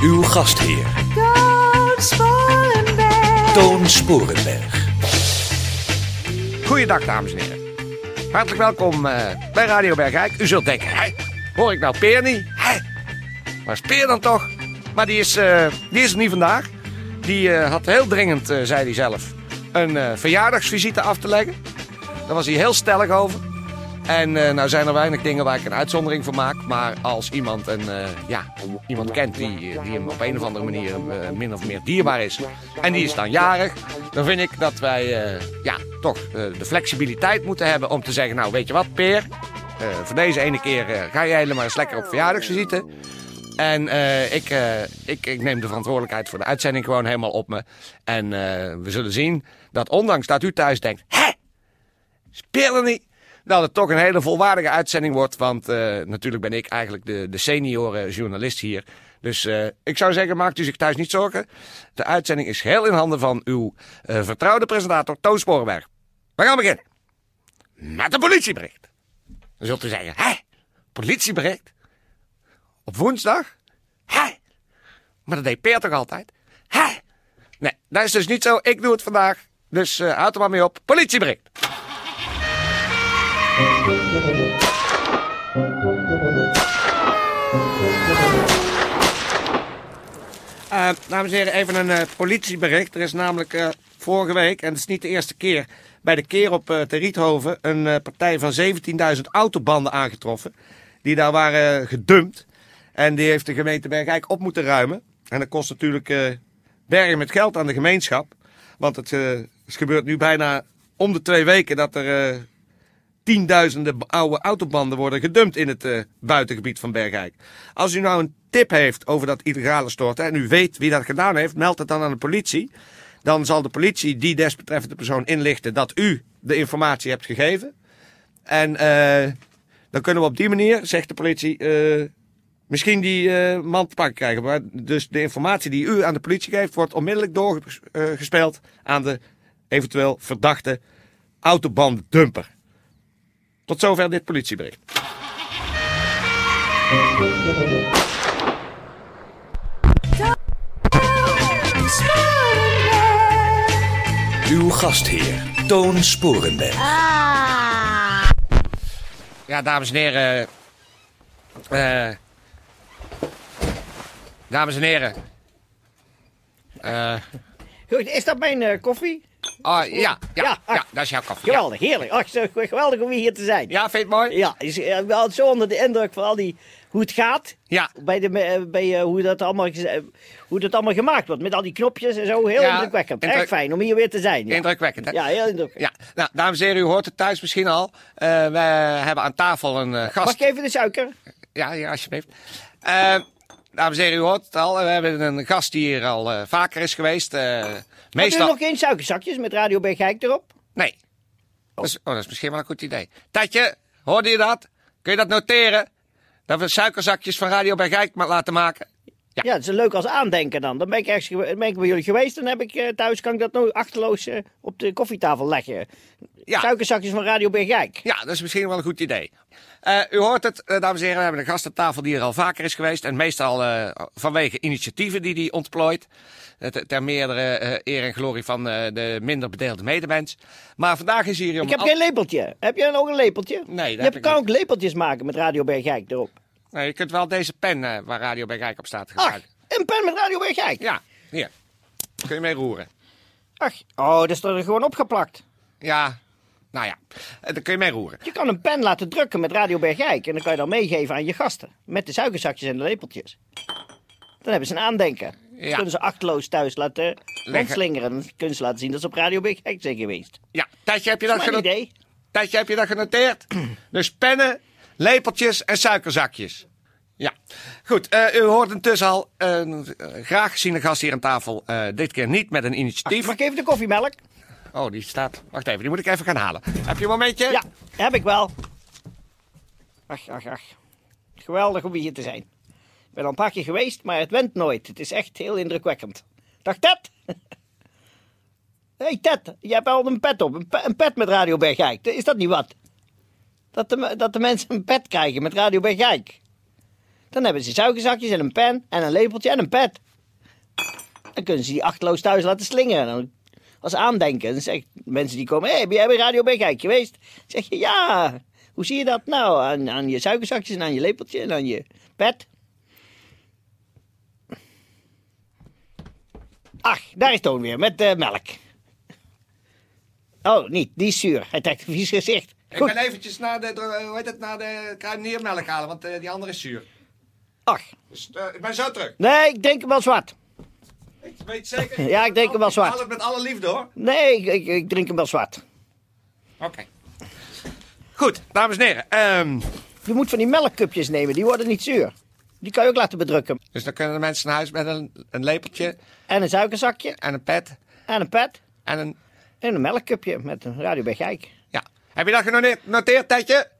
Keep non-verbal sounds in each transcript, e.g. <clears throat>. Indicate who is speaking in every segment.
Speaker 1: Uw gastheer
Speaker 2: Toon Sporenberg.
Speaker 1: Toon Sporenberg.
Speaker 3: Goeiedag, dames en heren. Hartelijk welkom eh, bij Radio Bergijk. U zult denken, hè, hoor ik nou Peer niet? Hè? Waar is Peer dan toch? Maar die is, eh, die is er niet vandaag. Die eh, had heel dringend, eh, zei hij zelf, een eh, verjaardagsvisite af te leggen. Daar was hij heel stellig over. En eh, nou zijn er weinig dingen waar ik een uitzondering voor maak. Maar als iemand, een, eh, ja, iemand kent die, eh, die hem op een of andere manier eh, min of meer dierbaar is. En die is dan jarig. Dan vind ik dat wij eh, ja, toch eh, de flexibiliteit moeten hebben om te zeggen. Nou weet je wat Peer. eh, voor deze ene keer eh, ga jij helemaal eens lekker op verjaardagsvisite. En eh, ik, eh, ik, ik neem de verantwoordelijkheid voor de uitzending gewoon helemaal op me. En eh, we zullen zien dat ondanks dat u thuis denkt... Hè? spelen niet. Dat het toch een hele volwaardige uitzending wordt. Want eh, natuurlijk ben ik eigenlijk de, de senior eh, journalist hier. Dus eh, ik zou zeggen, maakt u zich thuis niet zorgen. De uitzending is heel in handen van uw eh, vertrouwde presentator Toon Sporenberg. We gaan beginnen. Met een politiebericht. Dan zult u zeggen, hè? Politiebericht? Op woensdag? Hè? Maar dat deed Peer toch altijd? Hè? Nee, dat is dus niet zo. Ik doe het vandaag. Dus eh, houd er maar mee op. Politiebericht. Eh, dames en heren, even een eh, politiebericht. Er is namelijk eh, vorige week, en het is niet de eerste keer, bij de keer op eh te Riethoven een eh, partij van 17.000 autobanden aangetroffen. Die daar waren eh, gedumpt. En die heeft de gemeente Bergijk op moeten ruimen. En dat kost natuurlijk eh, bergen met geld aan de gemeenschap. Want het eh, is gebeurt nu bijna om de twee weken dat er eh, tienduizenden b- oude autobanden worden gedumpt in het eh, buitengebied van Bergijk. Als u nou een tip heeft over dat illegale storten en u weet wie dat gedaan heeft, meld het dan aan de politie. Dan zal de politie die desbetreffende persoon inlichten dat u de informatie hebt gegeven. En eh, dan kunnen we op die manier, zegt de politie, eh, misschien die eh, man te pakken krijgen. Maar dus de informatie die u aan de politie geeft, wordt onmiddellijk doorgespeeld aan de eventueel verdachte autobanddumper. Tot zover dit politiebericht.
Speaker 2: Toon Sporenberg.
Speaker 1: Uw gastheer Toon Sporenberg.
Speaker 2: Ah.
Speaker 3: Ja, dames en heren. eh, eh, dames en heren. Eh,
Speaker 4: Goed, is dat mijn eh, koffie?
Speaker 3: oh, ja, ja,
Speaker 4: Ja, ah.
Speaker 3: ja, dat is jouw koffie. Ja,
Speaker 4: Geweldig, heerlijk. Ach, zo, geweldig om hier te zijn.
Speaker 3: ja vind je het mooi?
Speaker 4: Ja, is, eh, ik ben altijd zo onder de indruk van al die, hoe het gaat.
Speaker 3: Ja.
Speaker 4: Bij, de, me- eh, bij eh, hoe, dat allemaal, gez- eh, hoe dat allemaal gemaakt wordt. Met al die knopjes en zo. Heel
Speaker 3: Ja,
Speaker 4: indrukwekkend.
Speaker 3: indruk-
Speaker 4: Erg fijn om hier weer te zijn. Ja,
Speaker 3: Indrukwekkend, hè?
Speaker 4: ja heel indrukwekkend.
Speaker 3: Ja, nou, dames en heren, u hoort het thuis misschien al. Eh wij hebben aan tafel een eh, gast.
Speaker 4: Mag ik even de suiker?
Speaker 3: Ja, ja, alsjeblieft. Eh, dames en heren, u hoort het al. We hebben een gast die hier al eh, vaker is geweest. eh,
Speaker 4: Is
Speaker 3: meestal.
Speaker 4: er nog geen suikerzakjes met Radio Bergijk erop?
Speaker 3: Nee. Dat is, oh, dat is misschien wel een goed idee. Tatje, hoorde je dat? Kun je dat noteren? Dat we suikerzakjes van Radio Bergijk ma- laten maken? Ja.
Speaker 4: Ja, dat is leuk als aandenken dan. Dan ben ik, ergens, gewe- dan ben ik bij jullie geweest. Dan heb ik eh, thuis, kan ik dat nou achterloos eh, op de koffietafel leggen.
Speaker 3: Ja.
Speaker 4: Suikerzakjes van Radio Bergijk.
Speaker 3: Ja, dat is misschien wel een goed idee. Eh, u hoort het, eh, dames en heren, we hebben een gast aan tafel die er al vaker is geweest. En meestal eh, vanwege initiatieven die hij ontplooit. Eh, Ter, ter meerdere eh, eer en glorie van eh, de minder bedeelde medemens. Maar vandaag is hier... om
Speaker 4: Ik heb
Speaker 3: al-
Speaker 4: geen lepeltje. Heb jij nog een lepeltje?
Speaker 3: Nee, dat
Speaker 4: je
Speaker 3: heb ik
Speaker 4: kan
Speaker 3: niet.
Speaker 4: ook lepeltjes maken met Radio Bergijk erop.
Speaker 3: Nee, je kunt wel deze pen eh, waar Radio Bergijk op staat
Speaker 4: Ach,
Speaker 3: gebruiken.
Speaker 4: een pen met Radio Bergijk.
Speaker 3: Ja, hier. Kun je mee roeren.
Speaker 4: Ach, oh, dat is er gewoon opgeplakt.
Speaker 3: Ja, nou ja, eh, daar kun je mee roeren.
Speaker 4: Je kan een pen laten drukken met Radio Bergijk. En dan kan je dat meegeven aan je gasten. Met de suikerzakjes en de lepeltjes. Dan hebben ze een aandenken.
Speaker 3: Ja.
Speaker 4: Dat kunnen ze achteloos thuis laten
Speaker 3: Leggen.
Speaker 4: rondslingeren. Dan kunnen ze laten zien dat ze op Radio Bergijk zijn geweest.
Speaker 3: Ja, Tijdje, heb je
Speaker 4: Dat
Speaker 3: dat,
Speaker 4: is mijn
Speaker 3: geno-
Speaker 4: idee.
Speaker 3: <clears throat> Tijdje, heb je dat genoteerd? dus pennen, lepeltjes en suikerzakjes. Ja, goed. eh, u hoort intussen al een eh, graag geziene gast hier aan tafel. eh, dit keer niet met een initiatief.
Speaker 4: Mag ik even de koffiemelk?
Speaker 3: Oh, die staat. Wacht even, die moet ik even gaan halen. Heb je een momentje?
Speaker 4: Ja, heb ik wel. Ach, ach, ach. Geweldig om hier te zijn. Ik ben al een paar keer geweest, maar het went nooit. Het is echt heel indrukwekkend. Dag Ted! <laughs> Hé hey Ted, je hebt al een pet op. Een, pe- een pet met Radio Bergijk. Is dat niet wat? Dat de, me- dat de mensen een pet krijgen met Radio Bergijk. Dan hebben ze zuigezakjes en een pen en een lepeltje en een pet. Dan kunnen ze die achteloos thuis laten slingeren. Dan als aandenken. Dan zeg mensen die komen, hé, hey, ben jij bij Radio Bergijk geweest? Dan zeg je, ja. Hoe zie je dat nou? Aan, aan je suikerzakjes en aan je lepeltje en aan je pet. Ach, daar is Toon weer, met eh, melk. Oh, niet, die is zuur. Hij trekt een vies gezicht.
Speaker 3: Ik
Speaker 4: Goed.
Speaker 3: ben eventjes naar de, dro- hoe heet het, naar de kruideniermelk halen, want eh, die andere is zuur.
Speaker 4: Ach,
Speaker 3: Dus eh, ik ben zo terug.
Speaker 4: nee, ik denk hem wel zwart.
Speaker 3: Ik weet zeker.
Speaker 4: Ja, ik denk hem wel
Speaker 3: Ik haal
Speaker 4: zwart.
Speaker 3: het met alle liefde hoor.
Speaker 4: Nee, ik, ik, ik drink hem wel zwart.
Speaker 3: Oké. Goed, dames en heren. ehm,
Speaker 4: Je moet van die melkcupjes nemen, die worden niet zuur. Die kan je ook laten bedrukken.
Speaker 3: dus dan kunnen de mensen naar huis met een, een lepeltje
Speaker 4: En een suikerzakje,
Speaker 3: en een pet
Speaker 4: en een pet,
Speaker 3: en een...
Speaker 4: en een melkcupje met een Radio Bergijk.
Speaker 3: Ja. Heb je dat genoteerd, noteerd, Tetje?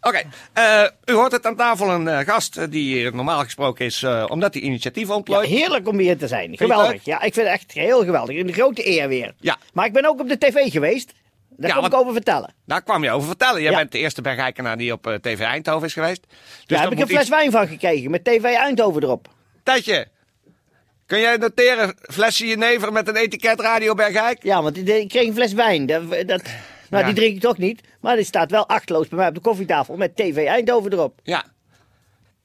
Speaker 3: Oké, eh, u hoort het aan tafel een eh, gast eh, die hier normaal gesproken is eh, omdat hij initiatief
Speaker 4: Ja,
Speaker 3: ontplooit.
Speaker 4: heerlijk om hier te zijn.
Speaker 3: je het
Speaker 4: Geweldig.
Speaker 3: leuk?
Speaker 4: Ja, ik vind het echt heel geweldig. Een grote eer weer.
Speaker 3: Ja.
Speaker 4: Maar ik ben ook op de tv geweest. Daar
Speaker 3: Ja,
Speaker 4: kom ik
Speaker 3: want- dus
Speaker 4: over vertellen.
Speaker 3: Daar kwam je over vertellen. Jij
Speaker 4: Ja.
Speaker 3: bent de eerste bergijkenaar die op eh, TV Eindhoven is geweest. Dus
Speaker 4: Daar
Speaker 3: dat
Speaker 4: heb ik een
Speaker 3: moet
Speaker 4: fles
Speaker 3: iets-
Speaker 4: wijn van gekregen met TV Eindhoven erop.
Speaker 3: Tetje, kun jij noteren flesje jenever met een etiket Radio Bergijk?
Speaker 4: Ja, want ik- ik kreeg een fles wijn. Dat, dat, nou,
Speaker 3: Ja.
Speaker 4: die drink ik toch niet. Maar die staat wel achteloos bij mij op de koffietafel met TV Eindhoven erop.
Speaker 3: Ja.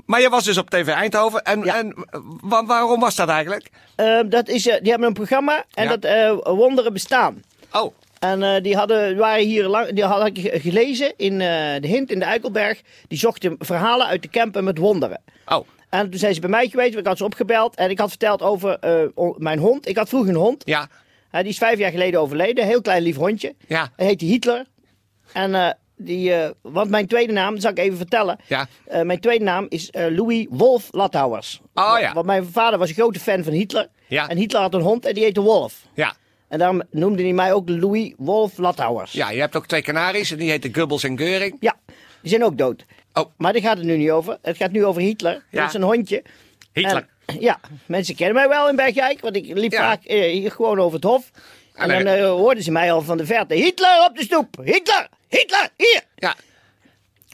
Speaker 3: Maar je was dus op TV Eindhoven. En,
Speaker 4: Ja.
Speaker 3: en eh, wa- waarom was dat eigenlijk?
Speaker 4: Eh, dat is, eh, die hebben een programma en
Speaker 3: Ja.
Speaker 4: dat eh, Wonderen Bestaan.
Speaker 3: Oh,
Speaker 4: En eh, die hadden, waren hier lang, die had ik ge- gelezen in eh, de Hint in de Eikelberg. Die zochten verhalen uit de camper met wonderen.
Speaker 3: oh.
Speaker 4: En toen zijn ze bij mij geweest, want ik had ze opgebeld. En ik had verteld over eh, o- mijn hond. Ik had vroeger een hond.
Speaker 3: Ja.
Speaker 4: Hij die is vijf jaar geleden overleden. Heel klein lief hondje.
Speaker 3: Ja.
Speaker 4: Hij heette Hitler. En eh, die, eh, want mijn tweede naam, dat zal ik even vertellen.
Speaker 3: Ja.
Speaker 4: Eh, mijn tweede naam is eh, Louis Wolf Lathouwers.
Speaker 3: Oh, ja.
Speaker 4: Want mijn vader was een grote fan van Hitler.
Speaker 3: Ja.
Speaker 4: En Hitler had een hond en die heette Wolf.
Speaker 3: Ja.
Speaker 4: En daarom noemde hij mij ook Louis Wolf Lathouwers.
Speaker 3: ja, je hebt ook twee kanaries. En die heten Gubbels en Geuring.
Speaker 4: Ja, die zijn ook dood.
Speaker 3: Oh.
Speaker 4: Maar daar gaat het nu niet over. Het gaat nu over Hitler.
Speaker 3: Ja.
Speaker 4: Dat is een hondje.
Speaker 3: Hitler.
Speaker 4: En, ja, mensen kennen mij wel in Bergijk, want ik liep
Speaker 3: Ja.
Speaker 4: vaak eh, hier gewoon over het hof. En
Speaker 3: Allee.
Speaker 4: dan eh, hoorden ze mij al van de verte. Hitler op de stoep! Hitler! Hitler! Hier!
Speaker 3: Ja.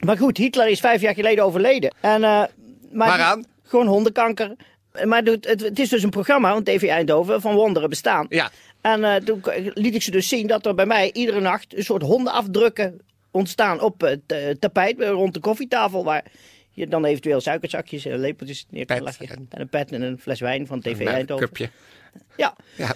Speaker 4: Maar goed, Hitler is vijf jaar geleden overleden. En, eh, maar
Speaker 3: Waaraan?
Speaker 4: Gewoon hondenkanker. Maar het, het, het is dus een programma, want TV Eindhoven, van wonderen bestaan.
Speaker 3: Ja.
Speaker 4: En eh, toen k- liet ik ze dus zien dat er bij mij iedere nacht een soort hondenafdrukken ontstaan op het eh, tapijt eh, rond de koffietafel. Waar je dan eventueel suikerzakjes en lepeltjes neer kan
Speaker 3: Pet.
Speaker 4: leggen. En een pet en een fles wijn van TV
Speaker 3: Een
Speaker 4: Eindhoven.
Speaker 3: Nou, cupje.
Speaker 4: Ja.
Speaker 3: Ja.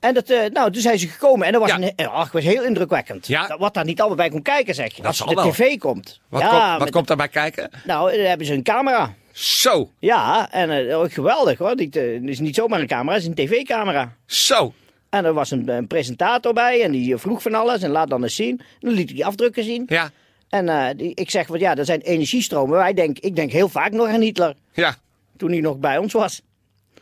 Speaker 4: En dat, eh, nou, toen zijn ze gekomen en dat was,
Speaker 3: Ja.
Speaker 4: een, eh, ach, was heel indrukwekkend.
Speaker 3: Ja.
Speaker 4: Dat- Wat daar niet allemaal bij komt kijken, zeg je. Als
Speaker 3: zal
Speaker 4: de
Speaker 3: wel.
Speaker 4: tv komt.
Speaker 3: Wat,
Speaker 4: ja,
Speaker 3: komt, wat
Speaker 4: met-
Speaker 3: komt daarbij kijken?
Speaker 4: nou, dan hebben ze een camera.
Speaker 3: Zo,
Speaker 4: Ja, en eh, ook geweldig hoor. Dit eh, is niet zomaar een camera, het is een tv-camera.
Speaker 3: zo.
Speaker 4: En er was een, een presentator bij en die vroeg van alles en laat dan eens zien. Dan liet ik die afdrukken zien.
Speaker 3: Ja,
Speaker 4: En eh, die, ik zeg, want ja, dat zijn energiestromen. Wij denk, ik denk heel vaak nog aan Hitler,
Speaker 3: ja.
Speaker 4: toen hij nog bij ons was.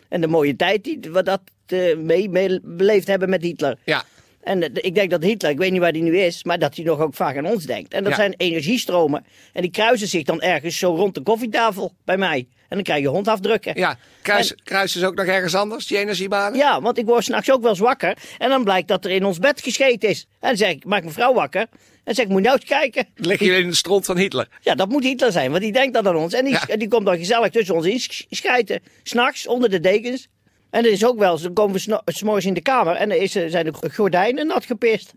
Speaker 4: En de mooie tijd die we dat eh, mee, mee beleefd hebben met Hitler.
Speaker 3: Ja.
Speaker 4: En eh, ik denk dat Hitler, ik weet niet waar hij nu is, maar dat hij nog ook vaak aan ons denkt. En dat
Speaker 3: Ja.
Speaker 4: zijn energiestromen. En die kruisen zich dan ergens zo rond de koffietafel bij mij. En dan krijg je hondafdrukken.
Speaker 3: Ja, kruis, kruis is ook nog ergens anders, die energiebanen.
Speaker 4: Ja, want ik word s'nachts ook wel eens wakker. En dan blijkt dat er in ons bed gescheten is. En dan zeg ik, maak mijn vrouw wakker. En dan zeg ik, moet je nou eens kijken.
Speaker 3: Dan Lig je in de stront van Hitler.
Speaker 4: Ja, dat moet Hitler zijn, want die denkt dan aan ons. En die,
Speaker 3: Ja.
Speaker 4: en die komt dan gezellig tussen ons in sch- schijten. S'nachts, onder de dekens. En er is ook wel eens, dan komen we s'no- eh, s'morgens in de kamer en er is, eh, zijn de gordijnen nat gepist.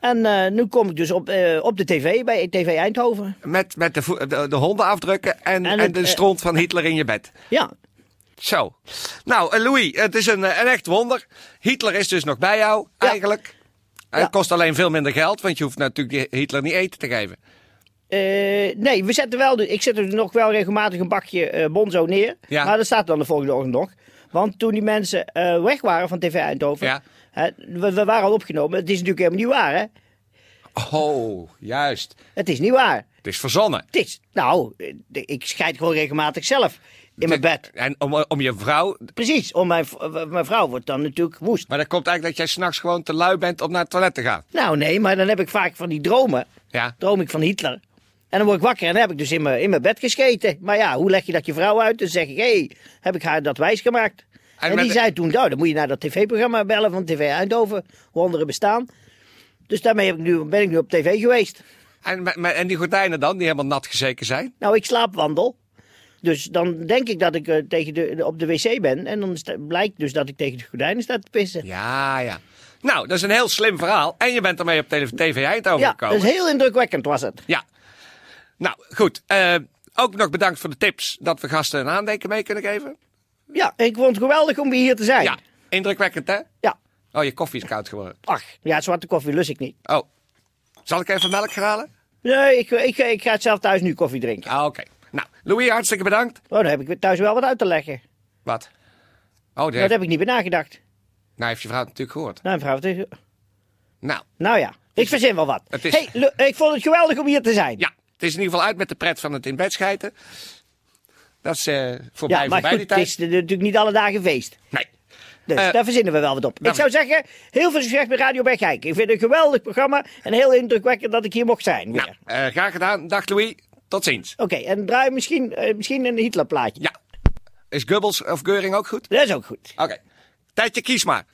Speaker 4: En eh, nu kom ik dus op, eh, op de tv, bij TV Eindhoven.
Speaker 3: Met, met de, vo- de, de honden afdrukken en, en,
Speaker 4: En het,
Speaker 3: de
Speaker 4: eh,
Speaker 3: stront van Hitler in je bed.
Speaker 4: Ja,
Speaker 3: Zo. Nou, eh, Louis, het is een, eh, een echt wonder. Hitler is dus nog bij jou,
Speaker 4: Ja.
Speaker 3: eigenlijk.
Speaker 4: Ja.
Speaker 3: Het kost alleen veel minder geld, want je hoeft natuurlijk die Hitler niet eten te geven.
Speaker 4: Eh, nee, we zetten wel, ik zet er nog wel regelmatig een bakje eh, bonzo neer.
Speaker 3: Ja.
Speaker 4: Maar dat staat dan de volgende ochtend nog. Want toen die mensen eh, weg waren van TV Eindhoven.
Speaker 3: Ja.
Speaker 4: hè, we, we waren al opgenomen. Het is natuurlijk helemaal niet waar, hè?
Speaker 3: Oh, juist.
Speaker 4: Het is niet waar.
Speaker 3: Het is verzonnen.
Speaker 4: Het is, nou, eh, de- ik scheid gewoon regelmatig zelf in mijn bed.
Speaker 3: En om, om je vrouw.
Speaker 4: Precies, om mijn, v- w- mijn vrouw wordt dan natuurlijk woest.
Speaker 3: Maar dat komt eigenlijk dat jij s'nachts gewoon te lui bent om naar het toilet te gaan.
Speaker 4: Nou nee, maar dan heb ik vaak van die dromen.
Speaker 3: Ja.
Speaker 4: Droom ik van Hitler. En dan word ik wakker en dan heb ik dus in mijn, in mijn bed gescheten. Maar ja, hoe leg je dat je vrouw uit? Dan zeg ik, hé, hey, heb ik haar dat wijsgemaakt? En,
Speaker 3: met-
Speaker 4: die zei toen, nou, dan moet je naar dat tv-programma bellen van TV Eindhoven. Wonderen bestaan. Dus daarmee heb ik nu, ben ik nu op tv geweest.
Speaker 3: En, maar- maar- en die gordijnen dan, die helemaal nat gezeken zijn.
Speaker 4: Nou, ik slaapwandel. Dus dan denk ik dat ik eh, tegen de, op de wc ben. En dan sta- blijkt dus dat ik tegen de gordijnen sta te pissen.
Speaker 3: Ja,
Speaker 4: Ja,
Speaker 3: ja. Nou, dat is een heel slim verhaal. En je bent ermee op tele- TV Eindhoven
Speaker 4: dat
Speaker 3: gekomen.
Speaker 4: is heel indrukwekkend was het.
Speaker 3: Ja. Nou, goed. Eh, ook nog bedankt voor de tips dat we gasten een aandenken mee kunnen geven.
Speaker 4: Ja, ik vond het geweldig om weer hier te zijn.
Speaker 3: Ja, indrukwekkend hè?
Speaker 4: Ja.
Speaker 3: Oh, je koffie is koud geworden.
Speaker 4: Ach, ja, zwarte koffie lus ik niet.
Speaker 3: Oh, zal ik even melk gaan halen?
Speaker 4: Nee, ik, ik, ik ga zelf thuis nu koffie drinken.
Speaker 3: Ah, oké. Nou, Louis, hartstikke bedankt.
Speaker 4: Oh, dan heb ik weer thuis wel wat uit te leggen.
Speaker 3: Wat? Oh, die
Speaker 4: Daar
Speaker 3: heeft,
Speaker 4: heb ik niet bij nagedacht.
Speaker 3: nou heeft je vrouw het natuurlijk gehoord.
Speaker 4: Nou, mevrouw, het is-
Speaker 3: Nou,
Speaker 4: nou ja, ik verzin wel wat.
Speaker 3: Het is-
Speaker 4: Hey, Lu- ik vond het geweldig om hier te zijn.
Speaker 3: ja, het is in ieder geval uit met de pret van het in bed schijten. Dat is eh
Speaker 4: Ja,
Speaker 3: voorbij,
Speaker 4: maar
Speaker 3: voorbij
Speaker 4: goed,
Speaker 3: die
Speaker 4: het
Speaker 3: tijd.
Speaker 4: is natuurlijk niet alle dagen feest.
Speaker 3: Nee.
Speaker 4: Dus
Speaker 3: Eh,
Speaker 4: daar verzinnen we wel wat op. Ik zou zeggen, heel veel succes met Radio Bergijk. Ik vind het een geweldig programma en heel indrukwekkend dat ik hier mocht zijn. weer.
Speaker 3: Nou, eh, graag gedaan. Dag Louis. Tot ziens.
Speaker 4: Oké, en draai misschien, eh, misschien een Hitlerplaatje.
Speaker 3: Ja. Is Gubbels of Geuring ook goed?
Speaker 4: Dat is ook goed.
Speaker 3: Oké. Tijdje, kies maar.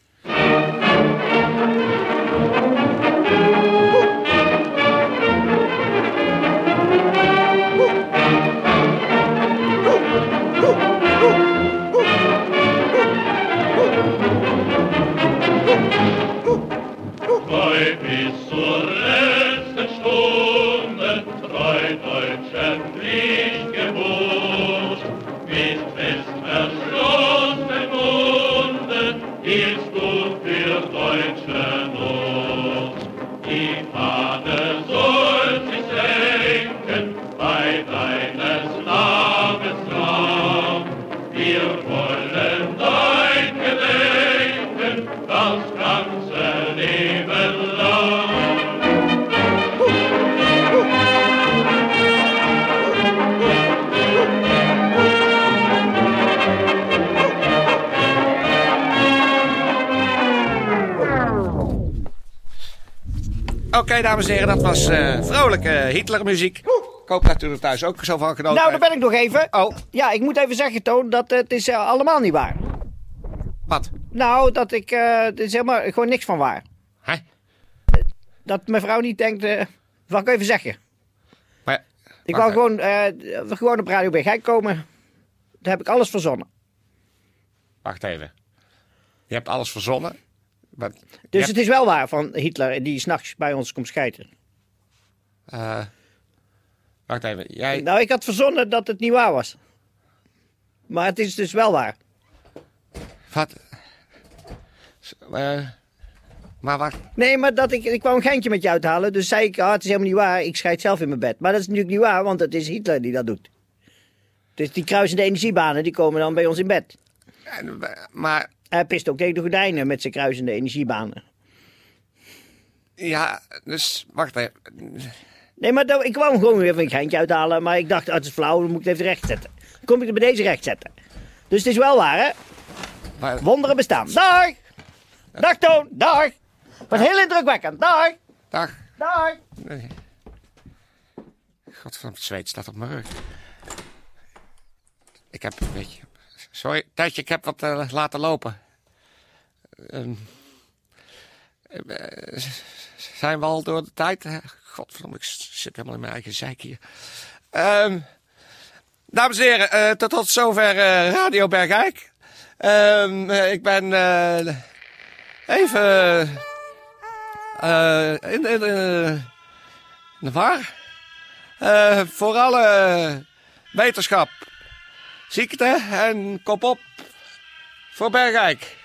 Speaker 5: Bei bis zur letzten Stunde treu deutscher Pflichtgebot. Mit fest verschlossenen Munden hieltst du für deutsche Not. Die Fahne soll sich senken bei deines Namens Traum. Wir wollen dein Gedenken das ganze Leben lang.
Speaker 3: Oké, dames en heren, dat was eh, vrolijke Hitlermuziek. Ik hoop dat u er thuis ook zo van genoten
Speaker 4: Nou, daar ben ik nog even.
Speaker 3: Oh.
Speaker 4: Ja, ik moet even zeggen, Toon, dat eh, het is eh, allemaal niet waar.
Speaker 3: Wat?
Speaker 4: Nou, dat ik, eh, er is helemaal gewoon niks van waar.
Speaker 3: Hè?
Speaker 4: Dat mevrouw niet denkt, eh wat ik even zeggen.
Speaker 3: Maar,
Speaker 4: Ik
Speaker 3: wacht
Speaker 4: wou
Speaker 3: even.
Speaker 4: gewoon, eh, gewoon op Radio Bergijk komen. Daar heb ik alles verzonnen.
Speaker 3: Wacht even. Je hebt alles verzonnen. Wat,
Speaker 4: Dus
Speaker 3: Ja.
Speaker 4: het is wel waar van Hitler die s'nachts bij ons komt schijten.
Speaker 3: eh, wacht even. Jij,
Speaker 4: Nou, ik had verzonnen dat het niet waar was. Maar het is dus wel waar.
Speaker 3: Wat? S- eh, maar wacht.
Speaker 4: Nee, maar dat ik, ik wou een geintje met je uithalen. Dus zei ik, ah, het is helemaal niet waar. Ik scheid zelf in mijn bed. Maar dat is natuurlijk niet waar, want het is Hitler die dat doet. Dus die kruisende energiebanen, die komen dan bij ons in bed.
Speaker 3: En, eh, Maar,
Speaker 4: Hij pist ook tegen de gordijnen met zijn kruisende energiebanen.
Speaker 3: ja, dus, wacht even.
Speaker 4: Nee, maar dat, ik wou hem gewoon weer even een geintje uithalen. Maar ik dacht, ah, het is flauw, dan moet ik het even rechtzetten. Dan kom ik het bij deze rechtzetten. Dus het is wel waar, hè?
Speaker 3: Waar-
Speaker 4: Wonderen bestaan. Dag! Dag, Toon! Dag! Was heel indrukwekkend. Dag!
Speaker 3: Dag.
Speaker 4: Dag!
Speaker 3: Nee. Godverdomme, het zweet staat op mijn rug. Ik heb een beetje... Sorry, Tijdje, ik heb wat eh, laten lopen. Ehm, eh, zijn we al door de tijd? Godverdomme, ik zit helemaal in mijn eigen zeik hier. Ehm, dames en heren, eh, tot, tot zover eh, Radio Bergijk. Ehm, eh, ik ben eh, even... eh, in, in, eh, de Waar? Eh, voor alle wetenschap, ziekte en kop op voor Bergijk.